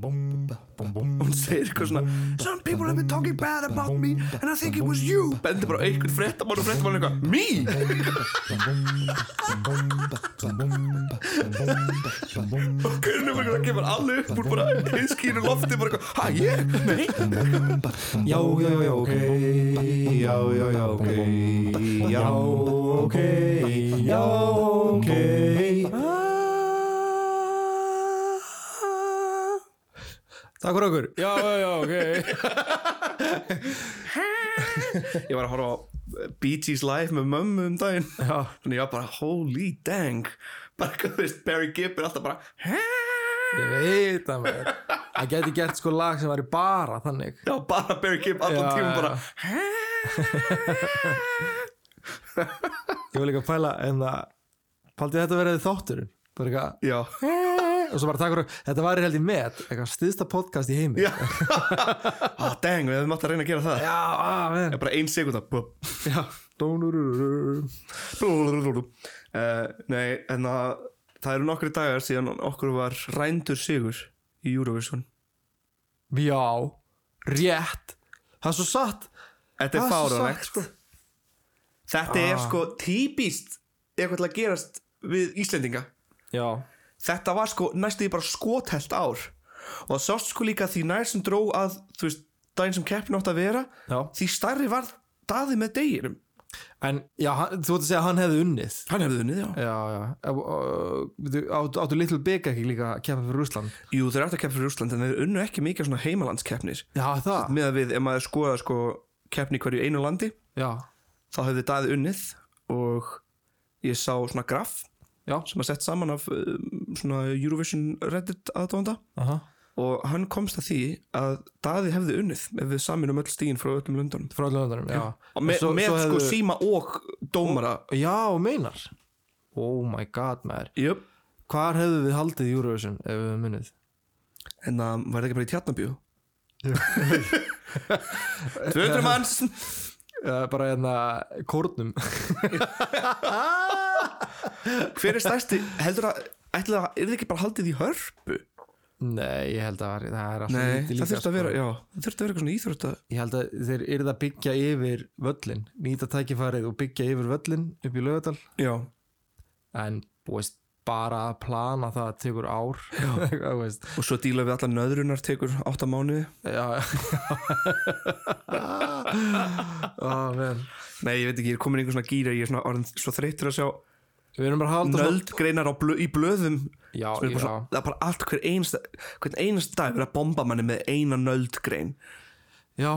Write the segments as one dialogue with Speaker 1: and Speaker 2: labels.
Speaker 1: hún segir eitthvað svona Some people have been talking bad about me and I think it was you bendir bara á einhvern fréttamann og fréttamann eitthvað Me? og kunnum eitthvað það kemur allir upp úr bara hinskínu lofti bara eitthvað Hæ, ég? Nei
Speaker 2: Já, já, já, já, ok Já, já, já, ok Já, ok Já, ok Takk fyrir okkur Já, já, já, ok
Speaker 1: Ég var að horfa á eh, Bee Gees live með mömmu um daginn
Speaker 2: Já.
Speaker 1: Þannig ég var bara, holy dang Bara, hvað þú veist, Barry Gibb er alltaf bara
Speaker 2: Ég veit það maður Það geti gert sko lag sem væri bara þannig
Speaker 1: Já, bara Barry Gibb allan
Speaker 2: Já,
Speaker 1: tíma bara
Speaker 2: já. Ég var líka að pæla en það Paldi þetta verið þátturinn Bara eitthvað
Speaker 1: Já,
Speaker 2: og svo bara takkur þetta var held í met eitthvað stiðsta podcast í heimi
Speaker 1: já ah, Dang, við hefum átt að reyna að gera það
Speaker 2: já, að,
Speaker 1: Ég
Speaker 2: menn
Speaker 1: bara ein sekund að
Speaker 2: já, dónurururur
Speaker 1: uh, Nei, en að það eru nokkri dagar síðan okkur var rændur sigur í Eurovision
Speaker 2: já, rétt það er svo satt
Speaker 1: Þetta er
Speaker 2: Það er svo
Speaker 1: fáranlegt
Speaker 2: sagt, sko.
Speaker 1: Þetta er
Speaker 2: Ah.
Speaker 1: sko típist eitthvað til að gerast við Íslendinga
Speaker 2: já,
Speaker 1: Þetta var sko næstu því bara skotelt ár og það sást sko líka því nær sem dró að þú veist, daginn sem keppin átt að vera
Speaker 2: já
Speaker 1: því stærri var daði með deginum
Speaker 2: en já, hann, þú vart að segja að hann hefði unnið
Speaker 1: Hann hefði unnið, já
Speaker 2: já, já Eh, eh, veitu, áttu, áttu litlu bygg ekki líka að kemja fyrir Rússland
Speaker 1: Jú, þeir áttu að keppa fyrir Úsland en þeir unnu ekki mikið svona heimalandskeppnir
Speaker 2: já, það,
Speaker 1: með að við, ef maður skoða sko keppni í hverju einu landi
Speaker 2: já,
Speaker 1: þá hefði daði unnið og ég sá svona graf
Speaker 2: já
Speaker 1: sem að sett saman af um, svona Eurovision Reddit aðdónda
Speaker 2: aha.
Speaker 1: og hann komst að því að Daði hefði unnið ef við saminum öll stígin frá öllum löndunum
Speaker 2: frá löndunum, já
Speaker 1: og með,
Speaker 2: Svo-
Speaker 1: með
Speaker 2: svo
Speaker 1: sko
Speaker 2: hefðu-
Speaker 1: síma og dómara
Speaker 2: já, meinar oh my god, maður
Speaker 1: Jöp,
Speaker 2: hvar hefðu við haldið Eurovision ef við hefðum unnið
Speaker 1: en það var það ekki bara í tjarnabíu 200 manns
Speaker 2: uh, bara hérna kórnum
Speaker 1: hver er stærsti, heldur að ætli það, er það ekki bara haldið í hörpu
Speaker 2: Nei, ég held að var- það er alltaf
Speaker 1: nei, það
Speaker 2: lítið
Speaker 1: þurfti að
Speaker 2: sko.
Speaker 1: vera, já það þurfti að vera eitthvað svona íþrótta
Speaker 2: Ég held að þeir eru að byggja yfir völlin nýta tækifærið og byggja yfir völlin upp í lögadal
Speaker 1: já,
Speaker 2: en búist bara að plana það tekur ár Þú veist.
Speaker 1: og svo díla við allar nöðrunar tekur 8 mánuði
Speaker 2: Já Ó, vel.
Speaker 1: nei, ég veit ekki, ég er komin í einhver svona gýra ég er svona orðin svo þreytur að sjá
Speaker 2: Við erum bara að halda svona-
Speaker 1: nöldgreinar á blö, í blöðum
Speaker 2: Já,
Speaker 1: Sem er bara
Speaker 2: já.
Speaker 1: svona- það er bara allt hver einasta hvern einasta dag er verið að bomba manni með eina nöldgrein
Speaker 2: Já,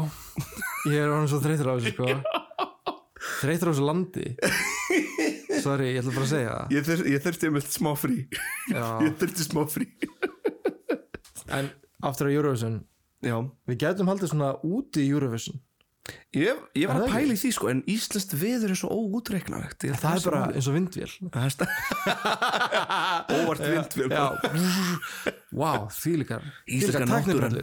Speaker 2: ég er orðin svo þreytur á þessu sko Þreytur á þessu landi Sorry, ég ætla bara að segja það
Speaker 1: ég, þur, ég þurfti um eitt smá frí
Speaker 2: Já.
Speaker 1: ég þurfti smá frí
Speaker 2: En aftur á Eurovision
Speaker 1: já,
Speaker 2: Við getum haldið svona úti í Eurovision
Speaker 1: ég, ég
Speaker 2: Er
Speaker 1: var
Speaker 2: það
Speaker 1: að pæla í því sko en íslenskt veður er svo óútreiknavegt Ég-
Speaker 2: Það er
Speaker 1: sem
Speaker 2: bara
Speaker 1: málið.
Speaker 2: eins og vindvél
Speaker 1: Það er sta- óvart vindvél
Speaker 2: Vá, því líkar
Speaker 1: Íslenska náttúran.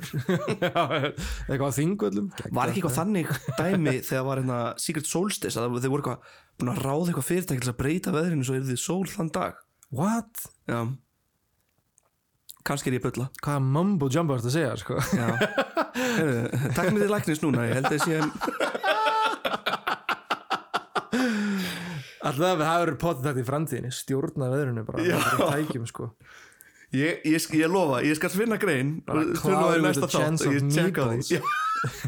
Speaker 2: Eitthvað á þingvöllum
Speaker 1: var ekki eitthvað þannig dæmi þegar var hérna Secret Solstice að það- þeir voru eitthvað búin að ráða eitthvað fyrirtæk til að breyta veðrinu svo er þið sól þann dag
Speaker 2: What?
Speaker 1: já kannski er ég að bulla
Speaker 2: Hvaða mumbo jumbo ertu að segja sko?
Speaker 1: Já. Heyrðu, Takk með því læknis núna, ég held að ég sé
Speaker 2: Alltaf við hafa verið potið þetta í framtíðinni Stjórna veðrinu bara
Speaker 1: Já.
Speaker 2: bara tækjum, sko.
Speaker 1: Ég, ég, sk- ég lofa, ég skal finna grein
Speaker 2: Bara
Speaker 1: og
Speaker 2: cloud
Speaker 1: finna það í
Speaker 2: with
Speaker 1: næsta
Speaker 2: a
Speaker 1: þátt
Speaker 2: chance
Speaker 1: og
Speaker 2: of
Speaker 1: ég tjekka á því.
Speaker 2: meatballs.
Speaker 1: Já,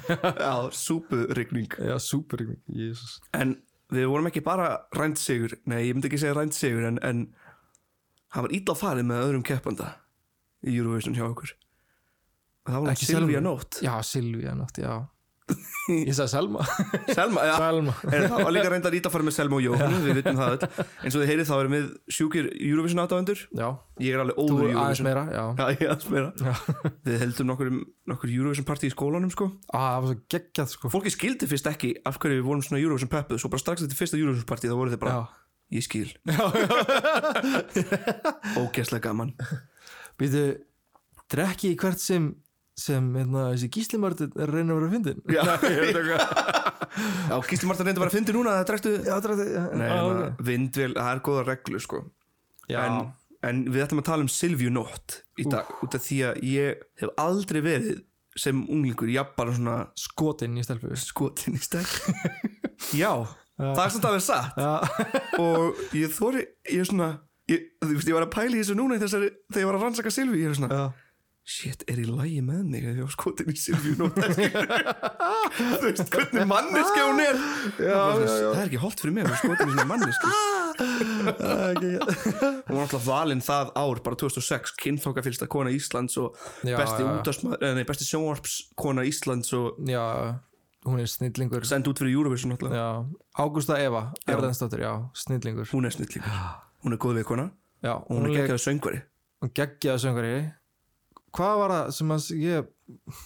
Speaker 1: Já súpurigning
Speaker 2: Já, super Jesus.
Speaker 1: En við vorum ekki bara rænt sigur Nei, ég myndi ekki segja rænt sigur en, en hann var ítla farið með öðrum keppanda í Eurovision hjá okkur Það var hann
Speaker 2: Ekki
Speaker 1: Silvía
Speaker 2: Selmu.
Speaker 1: Nótt
Speaker 2: Já, Silvíja nátt, já Ég sagði Selma
Speaker 1: Selma, já
Speaker 2: Selma
Speaker 1: En það var líka reyndar að farið með Selma og Jóhann Við vitum það öll En svo þið heyrið þá erum við sjúkir Eurovision aðdáendur
Speaker 2: Já,
Speaker 1: Ég er alveg
Speaker 2: þú
Speaker 1: óður í
Speaker 2: aðeins
Speaker 1: Eurovision
Speaker 2: meira sko. Já,
Speaker 1: Já, ég aðeins meira Við heldum nokkur, nokkur Eurovision partí í skólanum sko.
Speaker 2: Á, Ah, það var svo geggjað sko.
Speaker 1: Fólki skildi fyrst ekki af hverju við vorum svona Eurovision peppuð Svo bara strax þetta fyrsta Eurovision partí þá voru þeir bara
Speaker 2: Já.
Speaker 1: Ég skil Ógæslega gaman
Speaker 2: Býtu, drekki í hvert sem sem hérna, þessi gíslimörd er að reyna að vera að fyndin
Speaker 1: Já, Já Gísli Marta reyndi bara að fyndi núna að það drektu
Speaker 2: Já, drekki
Speaker 1: Nei, hérna,
Speaker 2: ah,
Speaker 1: ah, vindvél, það er góða reglu sko
Speaker 2: Já.
Speaker 1: En en við ætlum að tala um Silvíu Nótt í dag út af því að ég hef aldrei verið sem unglingur, já bara svona
Speaker 2: Skotin í stelpu
Speaker 1: skotin í stæk já, það er samt alveg satt
Speaker 2: Já,
Speaker 1: og ég þóri, ég er svona ég, þú veist, ég var að pæla í þessu núna í þessari, þegar ég var að rannsaka Silvíu, ég er svona
Speaker 2: já
Speaker 1: shit, er í lægi með mig að ég var skotin í Silvíu Nótt þú veist, hvernig manneski hún er já, já, já. það er ekki holdt fyrir mig að vera skotin í svona manneski hún var alltaf valinn það ár bara 2006, kynþóka fylgsta kona Íslands og
Speaker 2: Já,
Speaker 1: besti,
Speaker 2: já, já.
Speaker 1: útvarsmaður- eh, nei, besti sjónvarps kona Íslands og
Speaker 2: Já, hún er snillingur
Speaker 1: send út fyrir Eurovision alltaf
Speaker 2: Já, Ágústa Eva Erðansdóttir, já, snillingur
Speaker 1: hún er snill líka, hún er góð við kona
Speaker 2: Já,
Speaker 1: og hún er geggjaðu söngvari
Speaker 2: hún geggjaði söngari Hvað var það sem að ég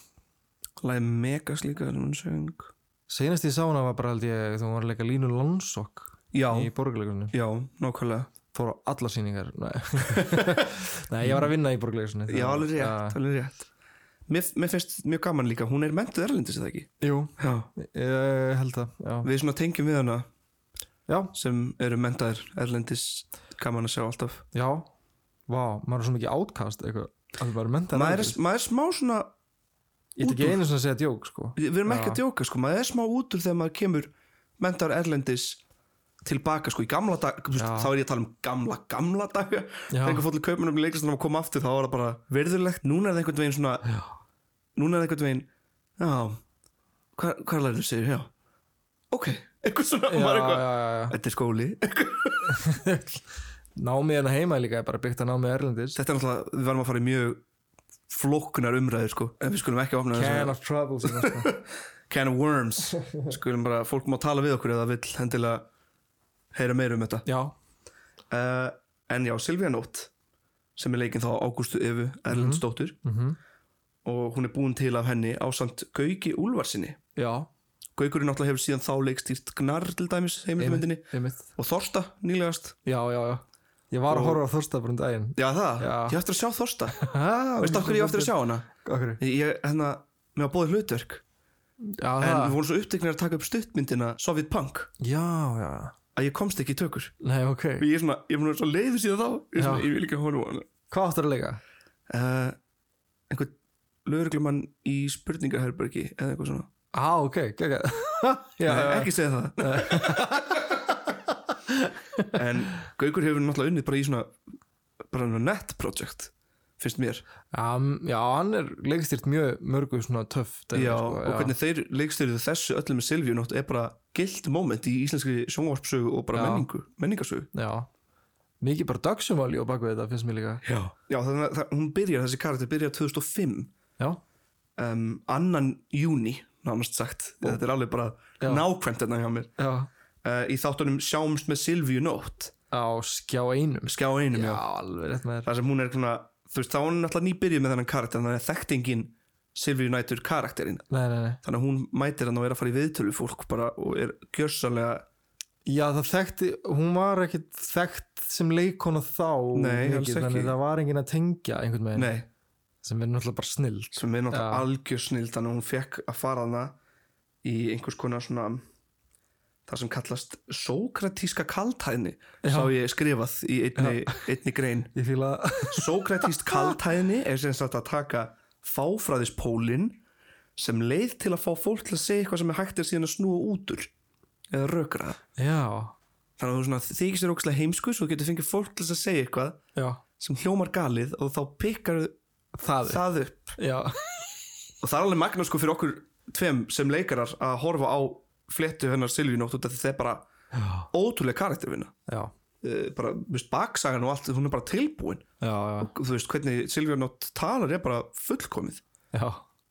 Speaker 1: lagði megas líka sem hún söng
Speaker 2: Seinast ég sá hana var bara held ég þegar hún var að leika Línu Lonsokk
Speaker 1: já,
Speaker 2: í borgarleikunum
Speaker 1: já, nákvæmlega
Speaker 2: Fór á alla sýningar Nei. Nei, ég var að vinna í borgarleikunum
Speaker 1: já, alveg rétt, alveg rétt Mér, mér finnst mjög gaman líka, hún er mentuð erlendis eða ekki
Speaker 2: Jú,
Speaker 1: já,
Speaker 2: ég held það Já,
Speaker 1: við svona tengjum við hana
Speaker 2: já,
Speaker 1: sem eru mentaðir erlendis gaman að sjá alltaf
Speaker 2: já. Vá, maður er svo mikið átkast eitthvað að við varum mentað
Speaker 1: maður er, maður er smá svona
Speaker 2: Ég ætti ekki einu sem að segja djók sko
Speaker 1: við erum ekki
Speaker 2: Já.
Speaker 1: að djóka sko, maður er smá út úr þegar maður kemur mentar erlendis tilbaka sko í gamla dag þú veist,
Speaker 2: Já.
Speaker 1: þá er ég að tala um gamla, gamla dag
Speaker 2: Já.
Speaker 1: þegar einhver fóll í kaupmennum í leikastunum að koma aftur þá var það bara verðurlegt, núna er það einhvern veginn svona
Speaker 2: Já.
Speaker 1: núna er það einhvern veginn já, hvað, hvað lærðu sér, já ok, eitthvað svona
Speaker 2: Já,
Speaker 1: maður er
Speaker 2: já,
Speaker 1: eitthvað,
Speaker 2: já,
Speaker 1: þetta er skóli
Speaker 2: já Námið hérna heima er líka er bara byggt að námið erlendis
Speaker 1: þetta er náttúrulega, við varum að fara í mjög flokkunar umræður sko, en við skulum ekki opna þessa-
Speaker 2: Can of trouble sem það, sko.
Speaker 1: can of worms skulum bara, fólk má tala við okkur ef það vill hendilega heyra meira um þetta
Speaker 2: Já,
Speaker 1: uh, en já, Silvia Nótt sem er leikinn þá Ágústu Efu Erlendsdóttur
Speaker 2: mhm.
Speaker 1: og hún er búin til af henni á samt Gauki Úlfarsinni
Speaker 2: já
Speaker 1: Gaukurinn náttúrulega hefur síðan þá leikstýrt Gnar til dæmis heimildmyndinni
Speaker 2: einmitt.
Speaker 1: og Þorsta nýlegast
Speaker 2: Já, já, já Ég var
Speaker 1: Og-
Speaker 2: að horfa á Þorsta bara um daginn
Speaker 1: Já það,
Speaker 2: Já.
Speaker 1: ég á eftir að sjá Þorsta
Speaker 2: Ha,
Speaker 1: Veistu af hverju ég á eftir að sjá hana?
Speaker 2: Okkur
Speaker 1: Ég, hérna, mér var bóðið hlutverk
Speaker 2: Já,
Speaker 1: en við
Speaker 2: það
Speaker 1: vorum svo uppteknir að taka upp stuttmyndina Soviet Punk
Speaker 2: Já, já
Speaker 1: að ég komst ekki í tökur
Speaker 2: Nei, ok
Speaker 1: ég er svona, ég er svona leiður síðan þá ég, er svona,
Speaker 2: Já.
Speaker 1: ég vil ekki horfa á hana
Speaker 2: Hvað áttur að leika?
Speaker 1: uh, einhvern lögreglumann í spurningaherbergi eða eitthvað svona
Speaker 2: Á, ok, gegga Já,
Speaker 1: Nei,
Speaker 2: já,
Speaker 1: ekki segja það en Gaukur hefur náttúrulega unnið bara í svona bara svona net project finnst mér
Speaker 2: Um, já, hann er leikstýrt mjög mörgu svona töff dæmi,
Speaker 1: já,
Speaker 2: sko,
Speaker 1: og hvernig þeir leikstyrðu þessu öllu með Silvíu nátt er bara gilt moment í íslenskri sjónvarpsögu og bara
Speaker 2: Já.
Speaker 1: menningu, menningarsögu
Speaker 2: Já, mikið bara dagsumvali og bakvið þetta finnst mér líka
Speaker 1: já, já þannig að það- hún byrjar, þessi karakter byrjar 2005
Speaker 2: Já,
Speaker 1: um, annan júni nánast sagt, þetta er alveg bara
Speaker 2: Já.
Speaker 1: nákvæmt þetta hjá mér
Speaker 2: já
Speaker 1: uh, í þáttunum sjáumst með Silvíu nótt
Speaker 2: Á skjá einum
Speaker 1: skjá einum
Speaker 2: Já,
Speaker 1: já.
Speaker 2: alveg rétt með þér
Speaker 1: þar sem hún er svona þú veist þá er hún náttúrulega nýbyrjuð með þennan karakter þannig að þekkt enginn Silvíu nætur karakterinn
Speaker 2: Nei, nei, nei
Speaker 1: þannig að hún mætir hann og er að fara í viðtölu við fólk bara og er gjörsalega
Speaker 2: Já, það þekkti, hún var ekkit þekkt sem leikona þá
Speaker 1: Nei, alls
Speaker 2: mikið,
Speaker 1: ekki.
Speaker 2: Þannig það var enginn að tengja einhvern veginn
Speaker 1: nei,
Speaker 2: Sem er náttúrulega bara snill
Speaker 1: sem er náttúrulega
Speaker 2: Já.
Speaker 1: algjör snill þannig að hún fekk að fara hana í einhvers konar svona það sem kallast sókratíska kaltæðni sá ég skrifað í einni, einni grein
Speaker 2: Ég fíla
Speaker 1: Sókratíst kaltæðni er sem sagt að taka fáfræðispólinn sem leið til að fá fólk til að segja eitthvað sem er hægt er síðan að snúa út úr eða rökra það.
Speaker 2: Já,
Speaker 1: Þannig að þú svona þykist þér ógæslega heimsku svo getur fengið fólk til þess að segja eitthvað
Speaker 2: já,
Speaker 1: sem hljómar galið og þá pikkar
Speaker 2: það er
Speaker 1: það upp.
Speaker 2: Já,
Speaker 1: Og það er alveg magna sko fyrir okkur tveim sem leikarar að horfa á fléttu hennar Silvíu út af því það er bara
Speaker 2: já,
Speaker 1: ótrúlega karaktervinna.
Speaker 2: já,
Speaker 1: Eh, Bara, þú veist, baksagan og allt, hún er bara tilbúin.
Speaker 2: já,
Speaker 1: Og þú veist, hvernig Silvíu talar er bara fullkomið.
Speaker 2: já, já.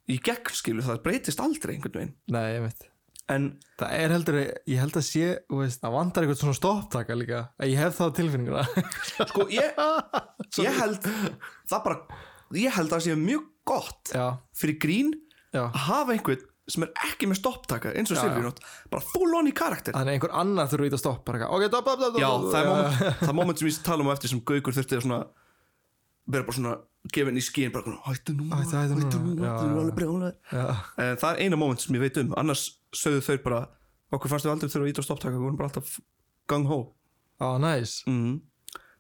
Speaker 1: í gegn skilu, það breytist aldrei einhvern veginn
Speaker 2: Nei, ég veit
Speaker 1: en
Speaker 2: Það er heldur, ég held að sé, þú veist, það vantar eitthvað svona stopptaka líka. Ég hef það á tilfinninguna.
Speaker 1: sko ég, ég held það bara, ég held að það sé mjög gott
Speaker 2: já,
Speaker 1: fyrir grín
Speaker 2: já.
Speaker 1: að hafa einhvern sem er ekki með stopptaka eins og
Speaker 2: Já, já.
Speaker 1: Silvíunótt, bara full on í karakter
Speaker 2: Þannig einhver annar þurfa ít að stoppa. bara eitthvað, Ok, stopp, stopp, stopp.
Speaker 1: já, það er
Speaker 2: moment.
Speaker 1: moment, það er moment sem ég tala um á eftir sem Gaukur þurfti að svona vera bara svona, gefa henni í skíin bara svona, hættu nú,
Speaker 2: Hættu, hættu núna."
Speaker 1: nú
Speaker 2: Já,
Speaker 1: þú
Speaker 2: já.
Speaker 1: er alveg brjónað
Speaker 2: Já,
Speaker 1: en það er eina moment sem ég veit um, annars sögðu þau bara, okkur fannst þau aldrei þurfa að íta á stopptaka við vorum bara alltaf gang ho
Speaker 2: á, næs.
Speaker 1: mm.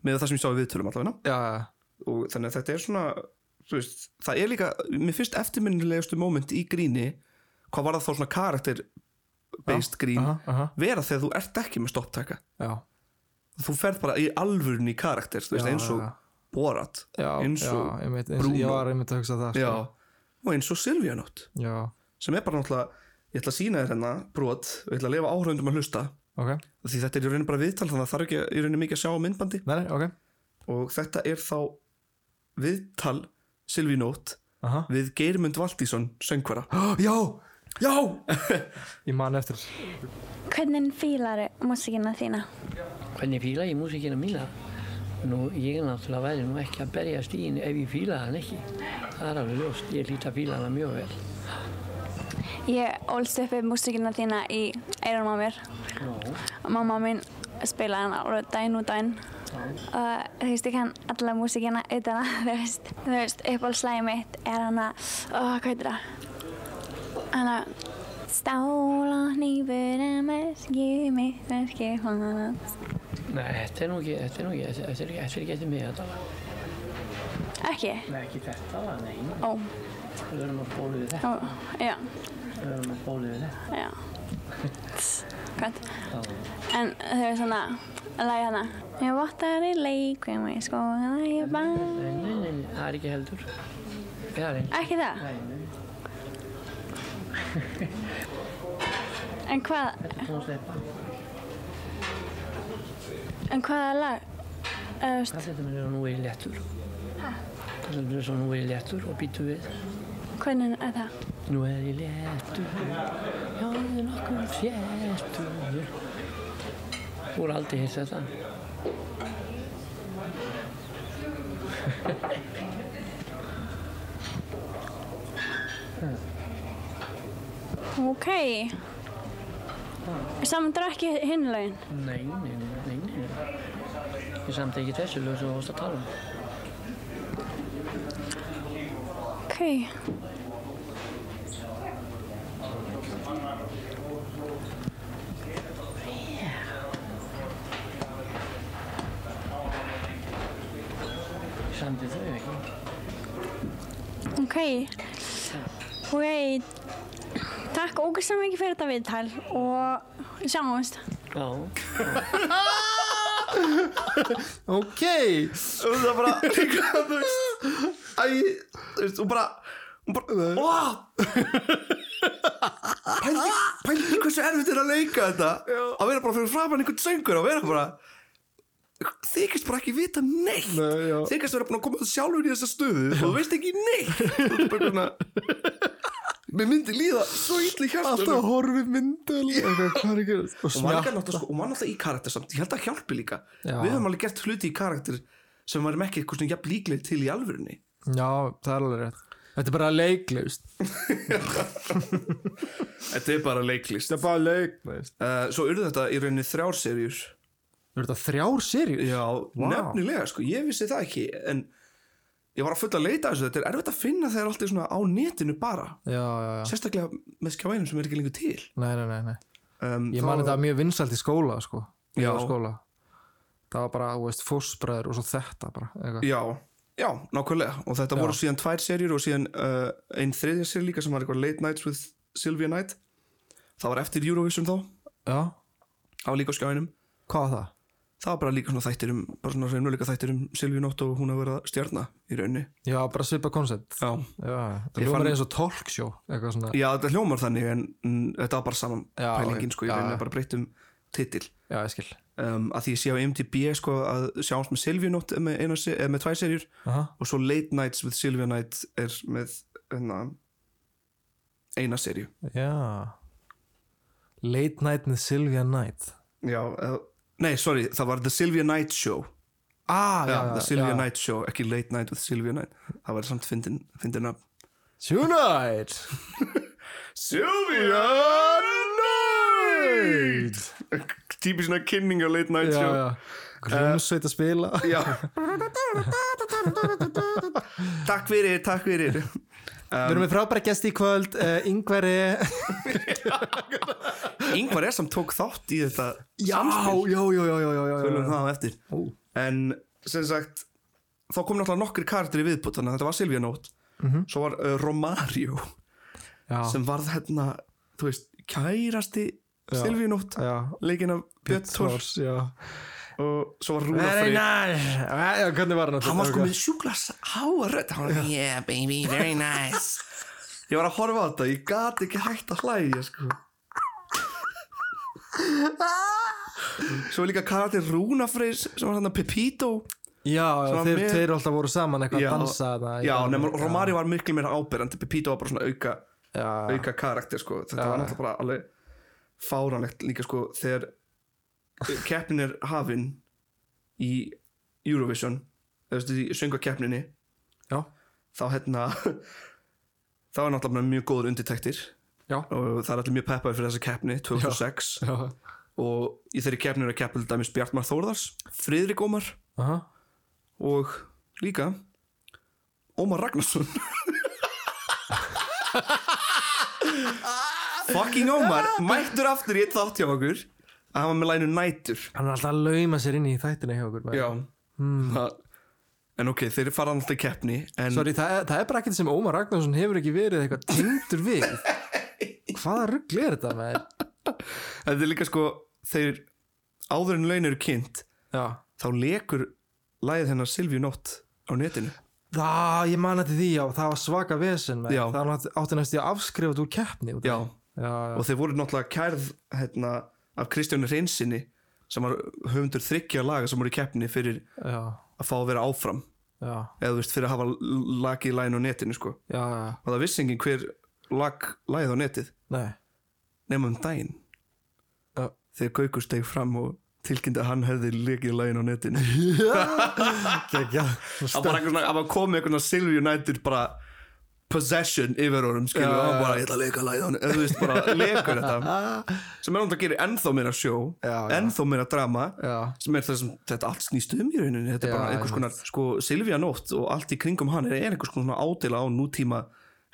Speaker 1: með það sem ég sá í viðtölum allavega
Speaker 2: já,
Speaker 1: og þannig að þetta er svona þú veist, það er líka, mér finnst eftirminnilegustu moment í gríni hvað var það þá svona karakter based grín
Speaker 2: aha, aha,
Speaker 1: vera þegar þú ert ekki með stopptaka
Speaker 2: já,
Speaker 1: þú ferð bara í alvörun í karakter þú veist,
Speaker 2: Já,
Speaker 1: eins og
Speaker 2: já.
Speaker 1: Borat
Speaker 2: já,
Speaker 1: eins og
Speaker 2: já, einmitt, eins
Speaker 1: Bruno.
Speaker 2: ég var einmitt að hugsa það
Speaker 1: já,
Speaker 2: sko.
Speaker 1: og eins og Silvíanótt
Speaker 2: já,
Speaker 1: sem er bara náttúrulega, ég ætla að sína þér hennar brot og ég ætla að lefa áhraundum að hlusta
Speaker 2: ok,
Speaker 1: því þetta er í rauninni bara viðtal þannig að það þarf ekki í rauninni mikið að sjá á myndbandi
Speaker 2: nei, nei, ok
Speaker 1: og þetta er þá viðtal Silvíanótt
Speaker 2: aha,
Speaker 1: við Geirmund Valdísson söngvara
Speaker 2: já, já ég man eftir
Speaker 3: Hvernig fílar músikina þína?
Speaker 4: Hvernig fíla ég músikina mína? Nú, ég náttúrulega væri nú ekki að berjast í henni ef ég fíla hann ekki. Það er alveg ljóst, ég hlýta að fíla hana mjög vel.
Speaker 3: Ég ólst upp við músikina þína í eyrunum á mér. Mamma mín spilaði hana alveg daginn og daginn. Og þú veist, ég kann alla músikina utan að, þú veist. Þú veist, uppáhaldslægið mitt er hana, ó, hvað heitir það? Hana, Stála hnífurinn merkið mitt, merkið hans.
Speaker 4: Nei, þetta er nú ekki, þetta er nú ekki, þetta er ekki, þetta er ekki eftir mig þetta lag.
Speaker 3: Ekki?
Speaker 4: Nei, ekki þetta lag, nei.
Speaker 3: Ó,
Speaker 4: Við verðum að bólu við þetta,
Speaker 3: ó, já,
Speaker 4: við verðum að bólu við þetta.
Speaker 3: já. Hvað? En þau er svona lagið hana Ég vottar í leikum og ég skoða ég bara
Speaker 4: Nei, nei, nei, nei, það er ekki heldur. Það er ekki.
Speaker 3: Ekki það?
Speaker 4: Nei, nei,
Speaker 3: En hvað,
Speaker 4: þetta tónst leppa.
Speaker 3: en hvaða lag? Eða, þú
Speaker 4: Það þetta mér er nú verið léttur. Það þetta mér er nú verið léttur og býtu við.
Speaker 3: veist, hvernig er það?
Speaker 4: Nú er ég léttur, já það er nokkur fjettur. Þú er aldrei hitt þetta.
Speaker 3: Ok Samandur ekki hinn lögin
Speaker 4: Nei, nei, nei, nei, nei. Ég samt ekki þessu lög sem þú varst að tala um.
Speaker 3: Ok
Speaker 4: Ég samti þau ekki.
Speaker 3: Ok Ok Takk ógæslega mikið fyrir þetta viðtal og sjáumst
Speaker 4: Já,
Speaker 2: ok,
Speaker 1: og það bara líka þú veist æ, þú veist, og bara og bara, óh pældi, pældi hversu erfitt er að leika þetta að vera bara fyrir framann einhvern söngur og vera bara þykist bara ekki vita neitt
Speaker 2: Nei, já.
Speaker 1: þykist vera búin að koma sjálfur í þessa stöðu og þú veist ekki neitt Þú ert bara svona, mér myndi líða svo ítli hjartum
Speaker 2: alltaf horfið myndal ok, hvað er að gerast og
Speaker 1: og maður líka
Speaker 2: smjá,
Speaker 1: náttúrulega sko, og maður náttúrulega í karakter samt ég held að hjálpi líka
Speaker 2: Já.
Speaker 1: við höfum alveg gert hluti í karakter sem varum ekki eitthvað svona jafn líkleg til í alvörunni
Speaker 2: já, það er alveg rétt þetta er bara leikleust
Speaker 1: þetta er bara leiklist
Speaker 2: er bara leikleust
Speaker 1: uh, svo urðu þetta í rauninni þrjár serjur
Speaker 2: eru þetta þrjár serjur?
Speaker 1: já, nefnilega sko, ég vissi það ekki en ég var að fulla að leita að þessu þetta er erfitt að finna þegar allt er svona á netinu bara
Speaker 2: já, já, já,
Speaker 1: sérstaklega með skjávænum sem er ekki lengur til
Speaker 2: nei, nei, nei, nei.
Speaker 1: um,
Speaker 2: Ég man þetta mjög vinsælt í skóla sko.
Speaker 1: Já.
Speaker 2: Já skóla. Það var bara, þú veist, fósbræður og svo þetta bara eitthvað.
Speaker 1: já, já, nákvæmlega og þetta
Speaker 2: Já.
Speaker 1: voru síðan tvær serjur og síðan uh, einn þriðja serjur líka sem var eitthvað Late Nights with Sylvia Knight það var eftir Eurovision þá
Speaker 2: Já,
Speaker 1: á líka á skjánum
Speaker 2: hvað var það?
Speaker 1: það var bara líka svona þættir um bara svona reynuleika þættir um Silvíu Nótt og hún að vera stjarnar í raunni
Speaker 2: Já, bara svipa koncept
Speaker 1: já,
Speaker 2: Já, það
Speaker 1: Ég
Speaker 2: ljómar
Speaker 1: fann-
Speaker 2: eins og talkshow eitthvað svona
Speaker 1: já þetta hljómar þannig en mm, þetta var bara saman
Speaker 2: Já,
Speaker 1: pælingin sko í
Speaker 2: já,
Speaker 1: raunni
Speaker 2: já.
Speaker 1: bara breytt um titil
Speaker 2: Já, ég skil
Speaker 1: um, að því ég sé á MTB sko að sjáumst með Silvíu Nótt með, eina se- eh, með tvær serjur
Speaker 2: Aha.
Speaker 1: og svo Late Nights with Silvíu Night er með hérna, eina serju
Speaker 2: Já Late Night with Sylvia Knight
Speaker 1: já, uh, nei sorry það var The Silvíu Night Show
Speaker 2: Ah,
Speaker 1: já, The Silvíu
Speaker 2: já.
Speaker 1: Night Show, ekki Late Night with Silvíu Night það var samt fyndin, fyndin að
Speaker 2: Tonight
Speaker 1: Silvia Night Típið svona kynning á late night
Speaker 2: Já,
Speaker 1: show
Speaker 2: já Grumsveit að spila
Speaker 1: Já. Takk fyrir, takk fyrir
Speaker 2: Við erum með frábæra gesti í kvöld uh, Ingveri
Speaker 1: Yngvar er sem tók þátt í þetta
Speaker 2: já, já, já, já, já, já, já,
Speaker 1: Tölum
Speaker 2: já.
Speaker 1: það á eftir
Speaker 2: Ú.
Speaker 1: En sem sagt þá kom náttúrulega nokkri karakter í viðbútt þannig að þetta var Silvia Nót svo var uh, Romario
Speaker 2: Mhm. já,
Speaker 1: sem varð hérna, þú veist, kærasti
Speaker 2: Já.
Speaker 1: Silvia Nót,
Speaker 2: já
Speaker 1: leikinn af Björn Tórs
Speaker 2: já
Speaker 1: og svo var Rúna Freyr
Speaker 2: Rúnafreyr Eh, Já, hvernig var hann
Speaker 1: hann var sko með sjúklas háarödd hann var yeah baby, very nice ég var að horfa á þetta, ég gati ekki hægt að hlæja sko svo er líka karakter Rúna Freyr sem var hann að Pepito
Speaker 2: Já,
Speaker 1: Svona
Speaker 2: þeir
Speaker 1: með-
Speaker 2: tveir alltaf voru saman eitthvað að dansa þarna í
Speaker 1: já,
Speaker 2: gangi.
Speaker 1: nema Romari var miklu meira áberandi Pepito var bara svona auka,
Speaker 2: Já,
Speaker 1: auka karakter sko þetta var náttúrulega bara alveg fáránlegt líka sko þegar keppnin er hafin í Eurovision eða þú veist, í söngakeppninni
Speaker 2: já,
Speaker 1: þá hérna þá er náttúrulega mjög góður undirtektir
Speaker 2: já,
Speaker 1: og það er allir mjög peppaði fyrir þessa keppni 2006
Speaker 2: já
Speaker 1: og í þeirri keppni er að keppil dæmis Bjartmar Þórðars Friðrik Ómar
Speaker 2: Aha.
Speaker 1: og líka Ómar Ragnarsson fucking Ómar mættur aftur í eitt þátt hjá okkur að hafa með lænu nætur
Speaker 2: Hann er alltaf að lauma sér inn í þættina hjá okkur maður.
Speaker 1: já Hmm. það, en ok, þeir fara alltaf í keppni en
Speaker 2: Sorry, það er, það er bara ekkert sem Ómar Ragnarsson hefur ekki verið eitthvað tengdur við Hvaða rugl er þetta með
Speaker 1: þetta er líka sko þeir áður en laun eru kynnt
Speaker 2: Já
Speaker 1: þá lekur lægið hennar Silvíu Nótt á netinu
Speaker 2: Það, ég man þetta því, já, það var svaka vesen maður.
Speaker 1: Já.
Speaker 2: Það átti- átti næst í að afskrifa þetta úr keppni út af
Speaker 1: já,
Speaker 2: því. já, já,
Speaker 1: og þeir voru náttúrulega kærð hérna, af Kristjáni Reynsinni sem var höfundur þryggja laga sem voru í keppni fyrir
Speaker 2: já,
Speaker 1: að fá að vera áfram
Speaker 2: já,
Speaker 1: eða þú veist fyrir að hafa l- lagið í lægin á netinu sko.
Speaker 2: já, já,
Speaker 1: og það vissi enginn hver lag lagið á netið
Speaker 2: nei
Speaker 1: nema um daginn
Speaker 2: Já.
Speaker 1: þegar Gaukur steg fram og tilkynnti að hann hefði lekið lægin á netinu
Speaker 2: Gekja
Speaker 1: það var eitthvað svona, það var komið eitthvað Silvi United bara possession yfir honum, skilju,
Speaker 2: Já,
Speaker 1: og
Speaker 2: já,
Speaker 1: hann bara
Speaker 2: já.
Speaker 1: ég ætla að leika læð hann, eða þú veist, bara leikur þetta sem er náttúrulega að gera ennþá meira sjó
Speaker 2: Já, já.
Speaker 1: ennþá meira drama
Speaker 2: Já,
Speaker 1: sem er það sem þetta allt snýst um í rauninni þetta er
Speaker 2: Já,
Speaker 1: bara einhvers konar, sko, Silvia Nótt og allt í kringum hann er einhvers konar svona ádela á nútíma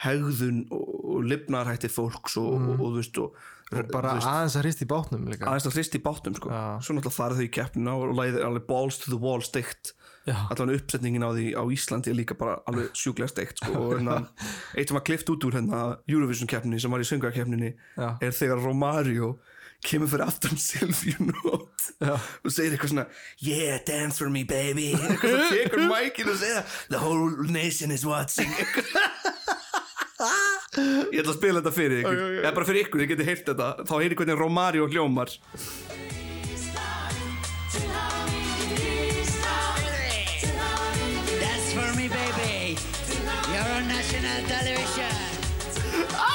Speaker 1: hegðun og, og lifnarhætti fólks og, og, og, þú veist, og
Speaker 2: Mm. og bara
Speaker 1: þú veist,
Speaker 2: aðeins að hrist í bátnum líka
Speaker 1: aðeins að hrist í bátnum sko.
Speaker 2: Já.
Speaker 1: svo náttúrulega fara þau í keppnina og læðir alveg balls to the wall steikt
Speaker 2: Já,
Speaker 1: allan uppsetningin á því á Íslandi er líka bara alveg sjúklega steikt sko, og hérna, eitt sem var klift út úr hérna Eurovision keppninni sem var í söngarkeppninni
Speaker 2: Já.
Speaker 1: er þegar Romario kemur fyrir aftan Silvíu Nótt og segir eitthvað svona yeah dance for me baby eitthvað svona tekur mækin og segir the whole nation is watching ég ætla að spila þetta fyrir ykkur eða bara fyrir ykkur, þið getið heyrt þetta þá heyri hvernig Romario hljómar
Speaker 5: That's for me, baby. You're on national television.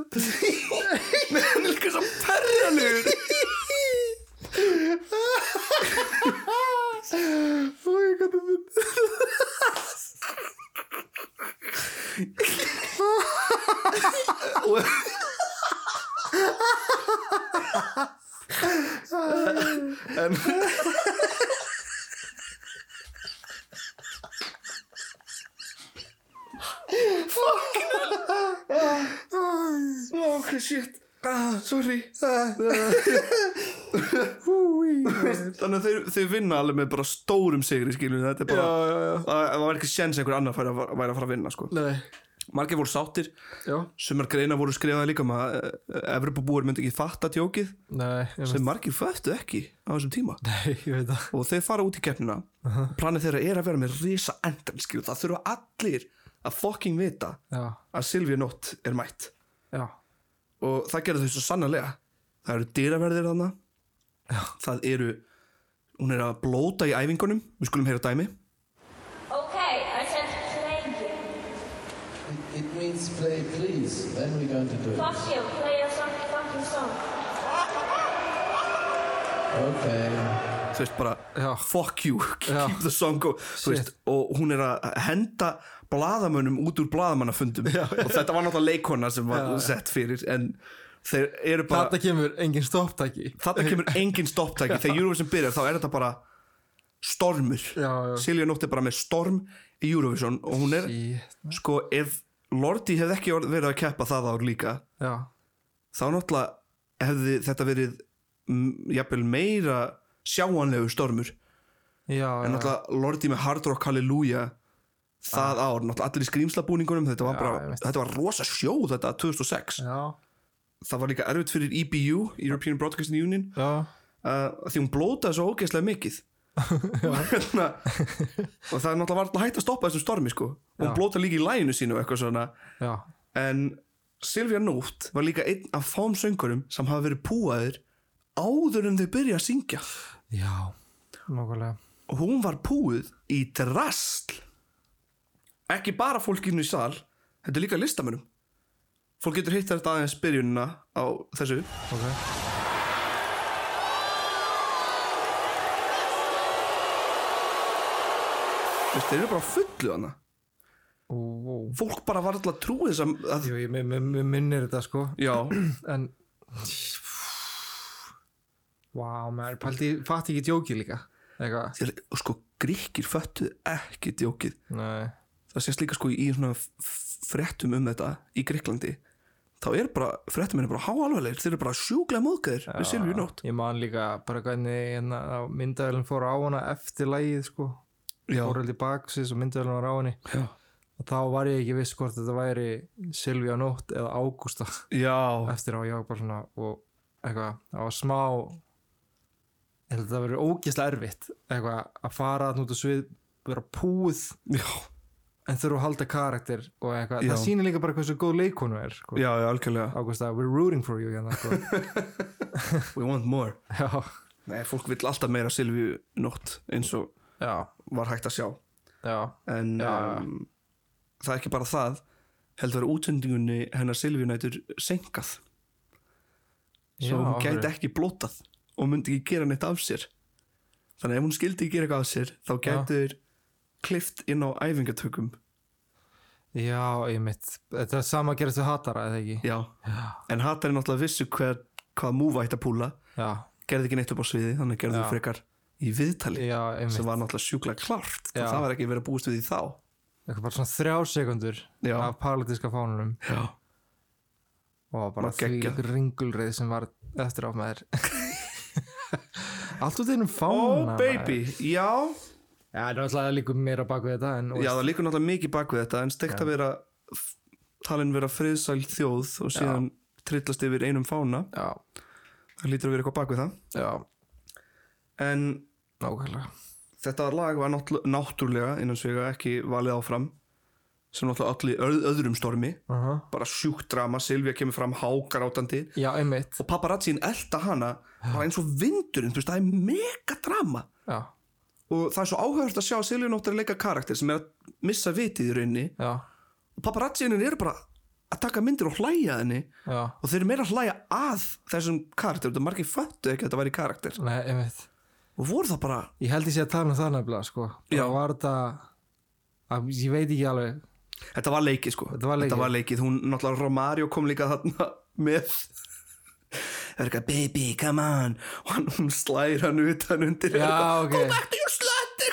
Speaker 1: hann er líka svo perralegur en ok shit ah, sorry þannig að þeir, þeir vinna alveg með bara stórum sigri skilur þetta er bara
Speaker 2: já, já
Speaker 1: það það var ekki séns einhver annar færi að, væri að fara að vinna sko.
Speaker 2: Nei,
Speaker 1: margir voru sáttir,
Speaker 2: já
Speaker 1: sumar greina voru skrifaði líka um að Evropabúar myndi ekki fatta djókið
Speaker 2: Nei, ég
Speaker 1: sem margir föttu ekki á þessum tíma
Speaker 2: Nei, ég veit það
Speaker 1: og þeir fara út í keppnina planið þeirra er að vera með risa endan skilur, það þurfa allir að fucking vita
Speaker 2: Já,
Speaker 1: að Silvia Nótt er mætt
Speaker 2: já,
Speaker 1: og það gerði þau svo sannarlega það eru dýraverðir þarna það eru hún er að blóta í æfingunum við skulum heyra dæmi
Speaker 6: Okay, I said play you.
Speaker 7: It, it means play please. Then we're going to do it.
Speaker 6: Fuck you, play a some fucking song.
Speaker 7: Okay.
Speaker 1: þú veist bara
Speaker 2: Já.
Speaker 1: fuck you, keep
Speaker 2: Já.
Speaker 1: the song go Þú
Speaker 2: Shit.
Speaker 1: veist, og hún er að henda bladamönnum út úr bladamannafundum og þetta var náttúrulega leikona sem var sett fyrir en þeir eru bara
Speaker 2: Þetta kemur engin stopptæki
Speaker 1: þarna kemur engin stopptæki þegar Eurovision byrjar þá er þetta bara stormur
Speaker 2: Já, já.
Speaker 1: Silja Nótt er bara með storm í Eurovision og hún er
Speaker 2: Shit.
Speaker 1: sko ef Lordi hefði ekki orð- verið að keppa það ár líka
Speaker 2: Já,
Speaker 1: þá náttúrulega hefði þetta verið mm, jafnvel meira sjáanlegu stormur
Speaker 2: já,
Speaker 1: en
Speaker 2: já.
Speaker 1: náttúrulega Lordi með Hard Rock Hallelujah það ár, náttúrulega allir í skrýmslabúningunum þetta var
Speaker 2: Já, ég
Speaker 1: bara,
Speaker 2: veist.
Speaker 1: þetta var rosa sjó þetta 2006
Speaker 2: Já,
Speaker 1: það var líka erfitt fyrir EBU European Broadcasting Union
Speaker 2: já
Speaker 1: uh, því hún blótaði svo ógeðslega mikið Hérna, og það er náttúrulega varla hægt að stoppa þessum stormi sko og hún
Speaker 2: Já.
Speaker 1: blótaði líka í læginu sínu og eitthvað svona
Speaker 2: Já,
Speaker 1: en Silvia Nótt var líka einn af fám söngurum sem hafa verið púaðir áður en þau byrja að syngja
Speaker 2: já Nókulega
Speaker 1: og hún var púið í drasl ekki bara fólkinu í sal þetta er líka listamönnum fólk getur hitt þetta aðeins byrjunina á þessu
Speaker 2: Ok
Speaker 1: Veist, þeir eru bara á fullu hana
Speaker 2: Ó, ó.
Speaker 1: fólk bara var alltaf trúið sem að,
Speaker 2: Jú, ég mi- mi- mi- minnir þetta sko
Speaker 1: já,
Speaker 2: En Vá, maður Paldi, fatt ekki djóki líka Eitthvað
Speaker 1: Þeir, og sko gríkir föttuðu ekki djókið
Speaker 2: Nei
Speaker 1: það sést líka sko í svona f- f- fréttum um þetta í Gríklandi þá er bara, fréttum er bara háalvarlegir þeir eru bara sjúklega móðgæðir við Silvíu Nótt
Speaker 2: Ég man líka bara hvernig hérna, myndavælinn fór á hana eftir lægið sko
Speaker 1: Já.
Speaker 2: Fór heldur baksins og myndavælinn var á henni
Speaker 1: já,
Speaker 2: Og þá var ég ekki viss hvort þetta væri Silvíu Nótt eða Ágústa
Speaker 1: já,
Speaker 2: Eftir á ég var bara svona og eitthvað Það var smá Ég held að það verið ógeðslega erfitt Eitthvað að fara þarna út og svið Vera púð
Speaker 1: já,
Speaker 2: en þurfa að halda karakter og eitthvað,
Speaker 1: Já.
Speaker 2: það sýnir líka bara hversu góð leikonu er sko.
Speaker 1: já, já algjörlega
Speaker 2: Ágústa, we're rooting for you hérna, sko.
Speaker 1: we want more
Speaker 2: já,
Speaker 1: Nei, fólk vill alltaf meira Silvíu Nótt eins og
Speaker 2: já,
Speaker 1: var hægt að sjá
Speaker 2: já
Speaker 1: en
Speaker 2: Já.
Speaker 1: um, það er ekki bara það heldur að útsendingunni hennar Silvíu nættur senkað
Speaker 2: Já,
Speaker 1: svo hún
Speaker 2: af
Speaker 1: gæti
Speaker 2: hverju?
Speaker 1: ekki blótað og myndi ekki gera neitt af sér þannig að ef hún skildi ekki gera eitthvað af sér þá gæti þeir klift inn á æfingatökum
Speaker 2: já, ég mitt, þetta er sama að gera þessu hatara eða ekki,
Speaker 1: já, en hatari náttúrulega vissu hver, hvað múfa ætti að púla
Speaker 2: já,
Speaker 1: gerði ekki neitt upp á sviði þannig gerði
Speaker 2: Já.
Speaker 1: þau frekar í viðtali
Speaker 2: já, ég mitt
Speaker 1: sem var náttúrulega sjúklega klárt sko.
Speaker 2: Já.
Speaker 1: það var ekki verið að búast við því þá
Speaker 2: eitthvað bara svona þrjá sekundur
Speaker 1: Já.
Speaker 2: af paralítiska fánunum
Speaker 1: já,
Speaker 2: og bara
Speaker 1: Og
Speaker 2: því
Speaker 1: geggjað.
Speaker 2: ykkur ringulrið sem var eftir á maður allt út einum fána
Speaker 1: oh baby, já
Speaker 2: já, það er náttúrulega líka meira bak við þetta en,
Speaker 1: já, það líkur náttúrulega mikið bak við þetta en steikt að vera f- talin vera friðsæl þjóð og síðan trillast yfir einum fána
Speaker 2: já,
Speaker 1: það lítur að vera eitthvað bak við það
Speaker 2: já,
Speaker 1: en
Speaker 2: nákvæmlega
Speaker 1: þetta lag var náttú- náttúrulega innan svega ekki valið áfram sem náttúrulega allir öð, öðrum stormi
Speaker 2: uh -huh.
Speaker 1: bara sjúkt drama, Silvia kemur fram hágrátandi
Speaker 2: já, ég mitt,
Speaker 1: og paparazzin elda hana bara eins og vindurinn, þú veist, það er mega drama
Speaker 2: já,
Speaker 1: og það er svo áhörð að sjá að Silvia nóttir að leika karakter sem er að missa vitið í rauninni
Speaker 2: já,
Speaker 1: og paparazzinir eru bara að taka myndir og hlæja að henni
Speaker 2: já
Speaker 1: og þeir eru meira að hlæja að þessum karakter þetta margir föttu ekki að þetta væri karakter
Speaker 2: Nei, einmitt.
Speaker 1: og voru það bara
Speaker 2: Ég held ég sé að tala um það nefnilega, sko.
Speaker 1: Já.
Speaker 2: Það var þetta, að, ég veit ekki alveg,
Speaker 1: Þetta var leikið sko
Speaker 2: Þetta var leikið.
Speaker 1: Hún náttúrulega Romario kom líka þarna með Það er eitthvað baby come on og hann, hún slæðir hann utan undir
Speaker 2: Já,
Speaker 1: eitthvað,
Speaker 2: ok.
Speaker 1: Go back to your slutty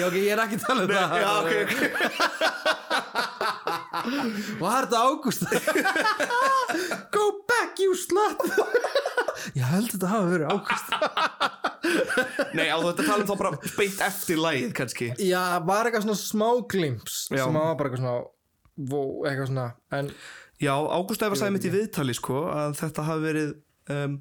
Speaker 2: Já, ok, ég er ekki að tala um það.
Speaker 1: Já ok, ok
Speaker 2: Var þetta ágúst? Go back, you slut! ég held þetta hafa verið ágúst.
Speaker 1: Nei á þetta talum þá bara beint eftir lægið kannski
Speaker 2: Já, var eitthvað svona smá glimps
Speaker 1: Já.
Speaker 2: sem var bara eitthvað svona, vó, eitthvað svona, en
Speaker 1: Já Ágúst Ævar sagði mitt í viðtali sko að þetta hafi verið um,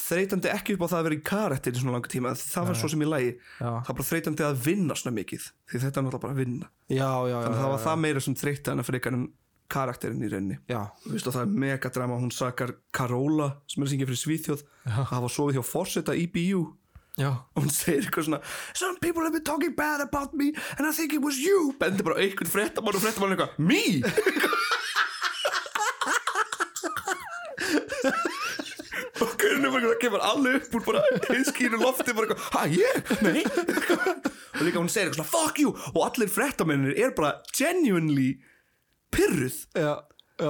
Speaker 1: þreytandi ekki upp á það að vera í karakter í svona langa tíma það var svo sem í lægi
Speaker 2: Já.
Speaker 1: það var bara þreytandi að vinna svona mikið því þetta er náttúrulega bara að vinna
Speaker 2: já, já, já.
Speaker 1: þannig að það var það meira sem þreytti hana frekar en karakterinn í rauninni
Speaker 2: Já,
Speaker 1: Þú veist að það er megadrama, hún sakar Karóla sem er að syngja fyrir Svíþjóð að hafa sofið hjá Forseta í BU og
Speaker 2: já.
Speaker 1: hún segir eitthvað svona Some people have been talking bad about me and I think it was you bendir bara á einhvern frettamann og frettamann er eitthvað Me? og hvernig bara það kemur allir upp úr bara hinskínu lofti bara eitthvað ha ég? Nei og líka hún segir eitthvað svona fuck you og allir frettamennir er bara genuinely pyrruð
Speaker 2: Já,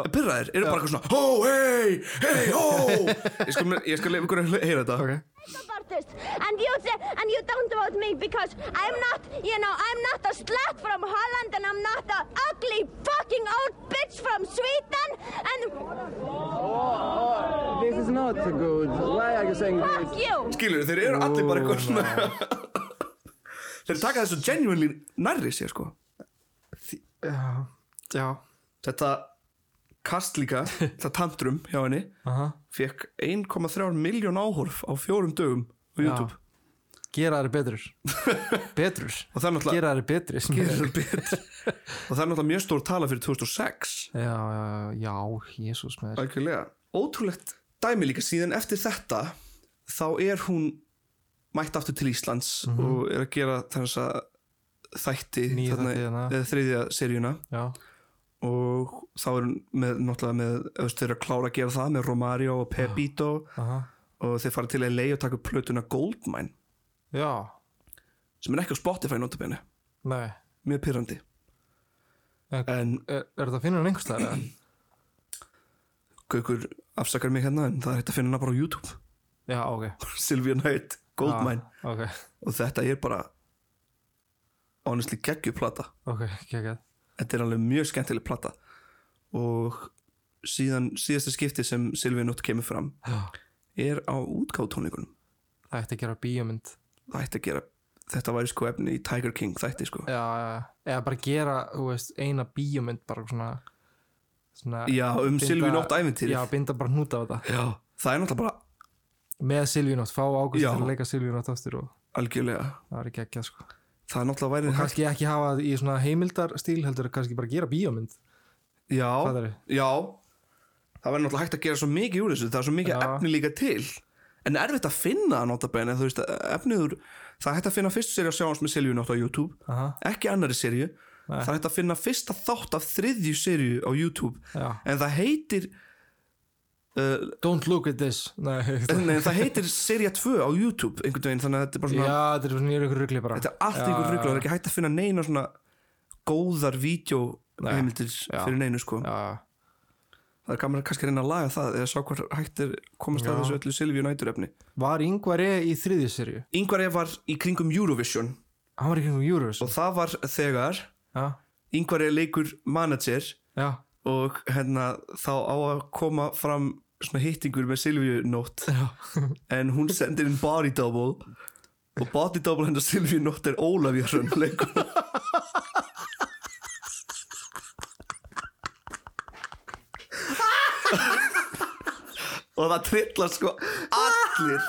Speaker 1: pyrraðir, eru bara eitthvað svona Hó, hei, hei, hó Ég skal, ég skal leifa ykkur að hl- heyra þetta okay.
Speaker 8: Bartist, and you say, and you don't vote me because I'm not, you know, I'm not a slut from Holland, and I'm not a ugly fucking old bitch from Sweden, and
Speaker 9: This is not good. Why are you saying this?
Speaker 8: fuck you.
Speaker 1: Skilur, þeir eru allir bara eitthvað svona Þeir taka þessu genuinely nærri sér sko
Speaker 2: Já, já,
Speaker 1: Þetta kast líka, þetta tantrum hjá henni
Speaker 2: aha
Speaker 1: Fekk 1,3 miljón áhorf á fjórum dögum á YouTube
Speaker 2: Gera þeir betrur Betrur
Speaker 1: Og það er náttúrulega-
Speaker 2: Gera þeir betri
Speaker 1: Gera þeir betri. Og það er náttúrulega mjög stór tala fyrir 2006
Speaker 2: Já, já, já, jésús með þér
Speaker 1: Algjörlega. Ótrúlegt dæmi líka síðan eftir þetta þá er hún mætt aftur til Íslands
Speaker 2: Mhm.
Speaker 1: og er að gera þess að þætti
Speaker 2: Nýju
Speaker 1: þarna-
Speaker 2: þætti hérna. þarna.
Speaker 1: eða þriðja seríuna
Speaker 2: Já,
Speaker 1: og þá er hún með, náttúrulega með þú veist, þeir eru að klára að gera það með Romario og Pepito
Speaker 2: aha
Speaker 1: og þeir fara til LA og taka upp plötuna Goldmine
Speaker 2: Já,
Speaker 1: sem er ekki á Spotify notabenni
Speaker 2: nei
Speaker 1: mjög pyrrandi
Speaker 2: En-
Speaker 1: en
Speaker 2: Er, er þetta að finna hann einhvers þar?
Speaker 1: Gaukur afsakar mig hérna en það er hægt að finna hana bara á YouTube
Speaker 2: Já, ok
Speaker 1: Sylvia Knight, Goldmine
Speaker 2: Já, Ok,
Speaker 1: og þetta er bara honestly geggjuplata
Speaker 2: ok, kekjað
Speaker 1: þetta er alveg mjög skemmtileg plata og síðan síðasta skipti sem Silvíu Nótt kemur fram er á útgáttónleikunum
Speaker 2: Það ætti að gera bíómynd
Speaker 1: það ætti að gera þetta væri sko efni í Tiger King þætti sko
Speaker 2: Já, já, já. eða bara gera, þú veist, eina bíómynd bara svona, svona
Speaker 1: já um
Speaker 2: binda-
Speaker 1: Silvíu Nótt ævintýri
Speaker 2: Já, binda bara hnúta á þetta
Speaker 1: það er náttúrulega bara
Speaker 2: Með Silvíunótt, fá águst
Speaker 1: Já.
Speaker 2: til að leika Silvíunótt aftur og
Speaker 1: algjörlega
Speaker 2: það var ekki ekki sko.
Speaker 1: það er náttúrulega væri hægt
Speaker 2: Kannski ekki hafa það í svona heimildar stíl heldur kannski bara gera bíómynd
Speaker 1: já,
Speaker 2: Fattari.
Speaker 1: já það væri náttúrulega hægt að gera svo mikið úr þessu það er svo mikið
Speaker 2: Já.
Speaker 1: efni líka til en erfitt að finna notabene þú veist efniður það er hægt að finna fyrstu serið að sjá hans með Silvíu Nótt á YouTube
Speaker 2: Aha,
Speaker 1: ekki annari serju það er hægt að finna fyrsta þátt af þriðju serju á YouTube
Speaker 2: Já.
Speaker 1: en það heitir uh,
Speaker 2: Don't look at this Nei,
Speaker 1: nei, það heitir serja 2 á YouTube einhvern veginn þannig að þetta er bara
Speaker 2: Já,
Speaker 1: svona
Speaker 2: þetta er svona í ykkur rugli bara
Speaker 1: þetta er allt einhver ruggla það er ekki hægt að finna neina svona góðar vídeo heimildir
Speaker 2: Já.
Speaker 1: fyrir neinu sko
Speaker 2: Já,
Speaker 1: það er gaman að kannski reyna að laga það eða sjá hvað hægt er komast að þessu öllu Silvíu Nætur efni
Speaker 2: Var Ingvar E í þriðju serju?
Speaker 1: Yngvar ég var í kringum Eurovision
Speaker 2: Hann var í kringum Euros
Speaker 1: og það var þegar
Speaker 2: Já,
Speaker 1: Yngvar ég leikur manager
Speaker 2: já,
Speaker 1: og hérna þá á að koma fram svona hittingur með Silvíu nótt en hún sendir inn body double og body double hennar Silvíu nótt er Ólafja Rönnleikur og það trillar sko allir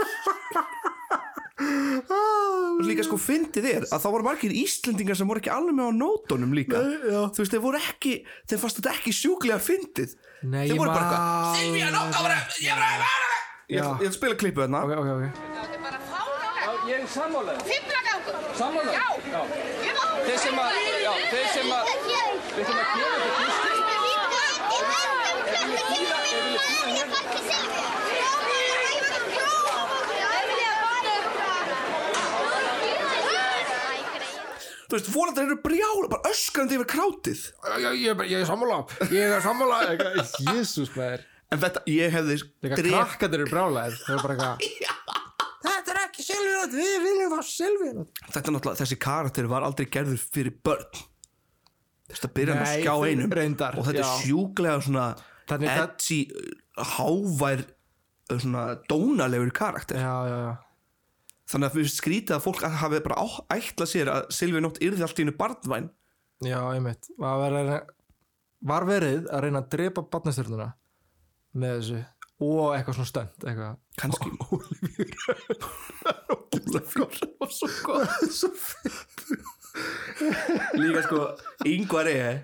Speaker 1: og líka sko fyndið er að þá voru margir Íslendingar sem voru ekki alveg með á nótunum líka Nei, þú veist, þeir voru ekki þeir fannst þetta ekki sjúklega fyndið
Speaker 2: Nei,
Speaker 1: þeir
Speaker 2: ég
Speaker 1: voru bara eitthvað
Speaker 2: man-
Speaker 1: Silvía Nótt, bara, ég var að vera ég ætla ég ætla að spila hérna. klippu þarna
Speaker 2: ok, ok, ok
Speaker 9: Ég er sammálaður. Sammálaður? Já. já. Þeir sem að, já, þeir sem að, þeir sem að gera þetta
Speaker 1: þú veist, fórhaldar eru brjála, bara öskrandi yfir krátið
Speaker 2: Ég er sammála Ég er sammála Jésús maður
Speaker 1: en þetta, ég hefði
Speaker 2: Líka
Speaker 1: drep-
Speaker 2: krakkandir eru brálaðir Það er bara eitthvað Þetta er ekki Silvíunótt, við viljum fá Silvíunótt
Speaker 1: þetta er náttúrulega, þessi karakter var aldrei gerður fyrir börn þú veist, að byrja með
Speaker 2: Nei,
Speaker 1: skjá
Speaker 2: þeir-
Speaker 1: einum
Speaker 2: reyndar,
Speaker 1: og þetta er
Speaker 2: já.
Speaker 1: sjúklega svona
Speaker 2: Þannig það-
Speaker 1: edgy, hávær svona dónalegur karakter
Speaker 2: Já, já, já
Speaker 1: þannig að við skrítið að fólk hafi bara á- ætlað sér að Silvi Nótt yrði allt í hennu barnvæn
Speaker 2: Já, einmitt Var verið, var verið að reyna að drepa barnastjörnuna með þessu og eitthvað svona stönd eitthvað.
Speaker 1: kannski Ólafjör var svo góð líka sko yngvar er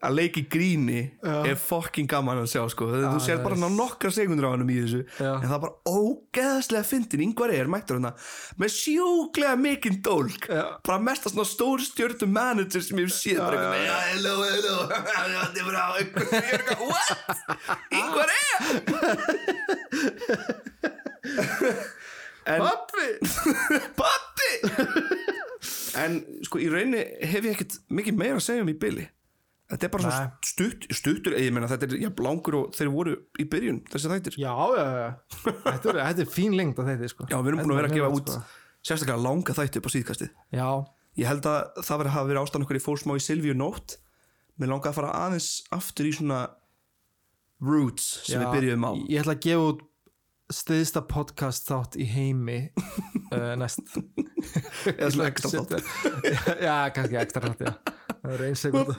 Speaker 1: að leiki gríni er fokkin gaman að sjá sko þú sér bara ná nokkra sekundur á hannum í þessu
Speaker 2: Já.
Speaker 1: en það er bara ógeðslega fyndin yngvar er mættur hann með sjúklega mikinn dólk bara mesta svona stór stjörnum manager sem ég hef séð bara eitthvað "Já, hello hello þetta er bara ég er eitthvað what E! yngvar er en, Pappi Pappi En sko í rauninni hef ég ekkert mikið meira að segja um í Billy þetta er bara svo
Speaker 2: Nei.
Speaker 1: stutt, stuttur ég meina þetta er jafn langur og þeir voru í byrjun þessi þættir
Speaker 2: Já, já, já Þetta er, þetta er fín lengt að þetta sko.
Speaker 1: Já, við erum búin að vera að
Speaker 2: Þetta
Speaker 1: gefa
Speaker 2: mjög
Speaker 1: út
Speaker 2: gott,
Speaker 1: sérstaklega langa þætti upp á síðkastið
Speaker 2: sko. Já,
Speaker 1: Ég held að það verið að hafa verið ástæðan okkur ég fór smá í Silvíu nótt Mér langaði að fara aðeins aftur í svona roots sem
Speaker 2: já
Speaker 1: við byrjuðum á
Speaker 2: Ég ætla að gefa út stiðsta podcast þátt í heimi uh, næst
Speaker 1: eða svona ekstra þátt
Speaker 2: Já, kannski ekstra þátt, já Það er eins sekund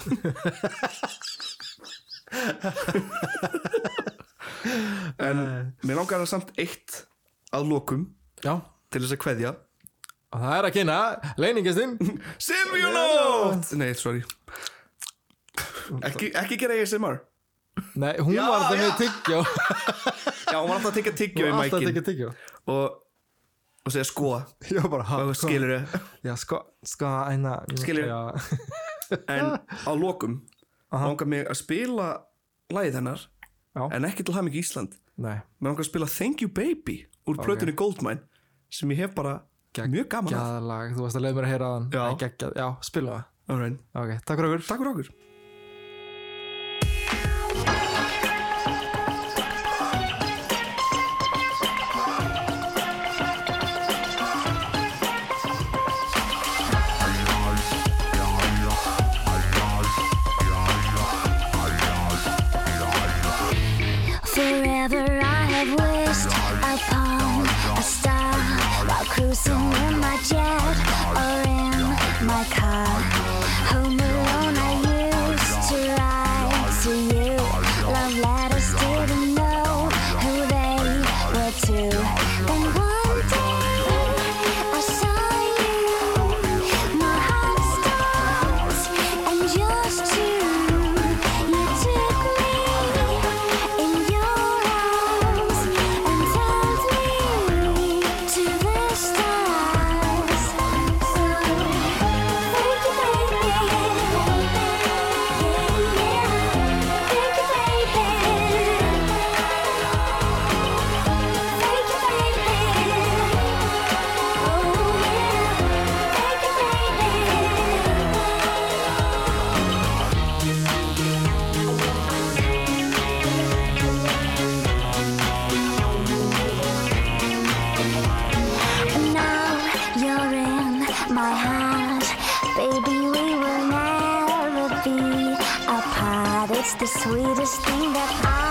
Speaker 1: En mér langaði að samt eitt að lokum
Speaker 2: Já, og
Speaker 1: til þess að kveðja
Speaker 2: það er að kynna leiningistinn
Speaker 1: Silvíu nótt! Nei, sorry Ekki, ekki gera ASMR
Speaker 2: Nei, hún
Speaker 1: Já,
Speaker 2: var það
Speaker 1: já.
Speaker 2: með tyggjó
Speaker 1: Já, hún var alltaf að tekja tyggjó í
Speaker 2: Hún var alltaf að
Speaker 1: mækin
Speaker 2: tekja tyggjó
Speaker 1: og, og segja sko
Speaker 2: Já, bara ha,
Speaker 1: og
Speaker 2: kom.
Speaker 1: skilur
Speaker 2: Já, sko, sko, eina
Speaker 1: Skilur.
Speaker 2: Já,
Speaker 1: En á lokum langar mig að spila lagið hennar
Speaker 2: Já.
Speaker 1: en ekki til hamingi Ísland
Speaker 2: nei
Speaker 1: Mér langar að spila Thank You Baby úr okay. plötunni Goldmine sem ég hef bara mjög gaman að
Speaker 2: Gæðalag, þú varst að leiða mér að heyra þann
Speaker 1: Já.
Speaker 2: Gæð, já, spila það
Speaker 1: Alright.
Speaker 2: Ok, takk fyrir okkur
Speaker 1: Takk fyrir okkur
Speaker 10: Forever I have wished upon a star while cruising in my jet or in my car. Home alone I used to write to you. Love letters didn't know who they were to. Then one day I saw you. My heart stopped and yours too. You took me in your arms and held me to the stars. So thank you, baby. Thank you, baby. Thank you, baby. Oh yeah. Thank you, baby. Now you're in my heart. Baby, we will never be apart. It's the sweetest thing that I